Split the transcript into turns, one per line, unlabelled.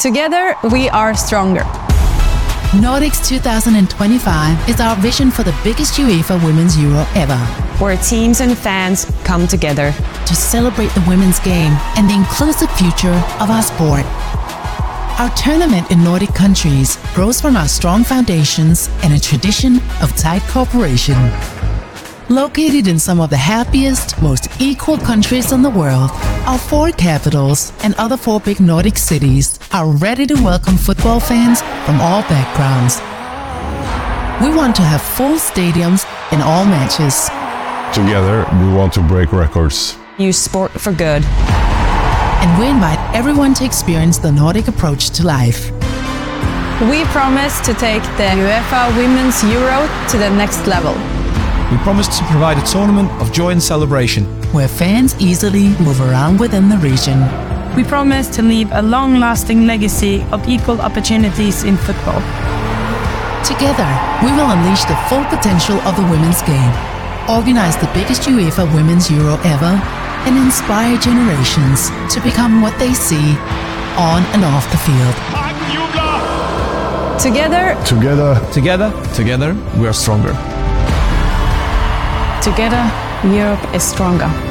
Together, we are stronger.
Nordics 2025 is our vision for the biggest UEFA Women's Euro ever
Where teams and fans come together.
to celebrate the women's game and the inclusive future of our sport. Our tournament in Nordic countries grows from our strong foundations and a tradition of tight cooperation. Located in some of the happiest, most equal countries in the world, our four capitals and other four big Nordic cities are ready to welcome football fans from all backgrounds. We want to have full stadiums in all matches.
Together, we want to break records.
Use sport for good.
and we invite everyone to experience the Nordic approach to life.
We promise to take the UEFA Women's Euro to the next level.
We promise to provide a tournament of joy and celebration.
Where fans easily move around within the region.
We promise to leave a long lasting legacy of equal opportunities in football.
Together, we will unleash the full potential of the women's game, organize the biggest UEFA Women's Euro ever, and inspire generations to become what they see on and off the field.
Together,
Together,
Together, together, we are stronger.
together, Europe is stronger.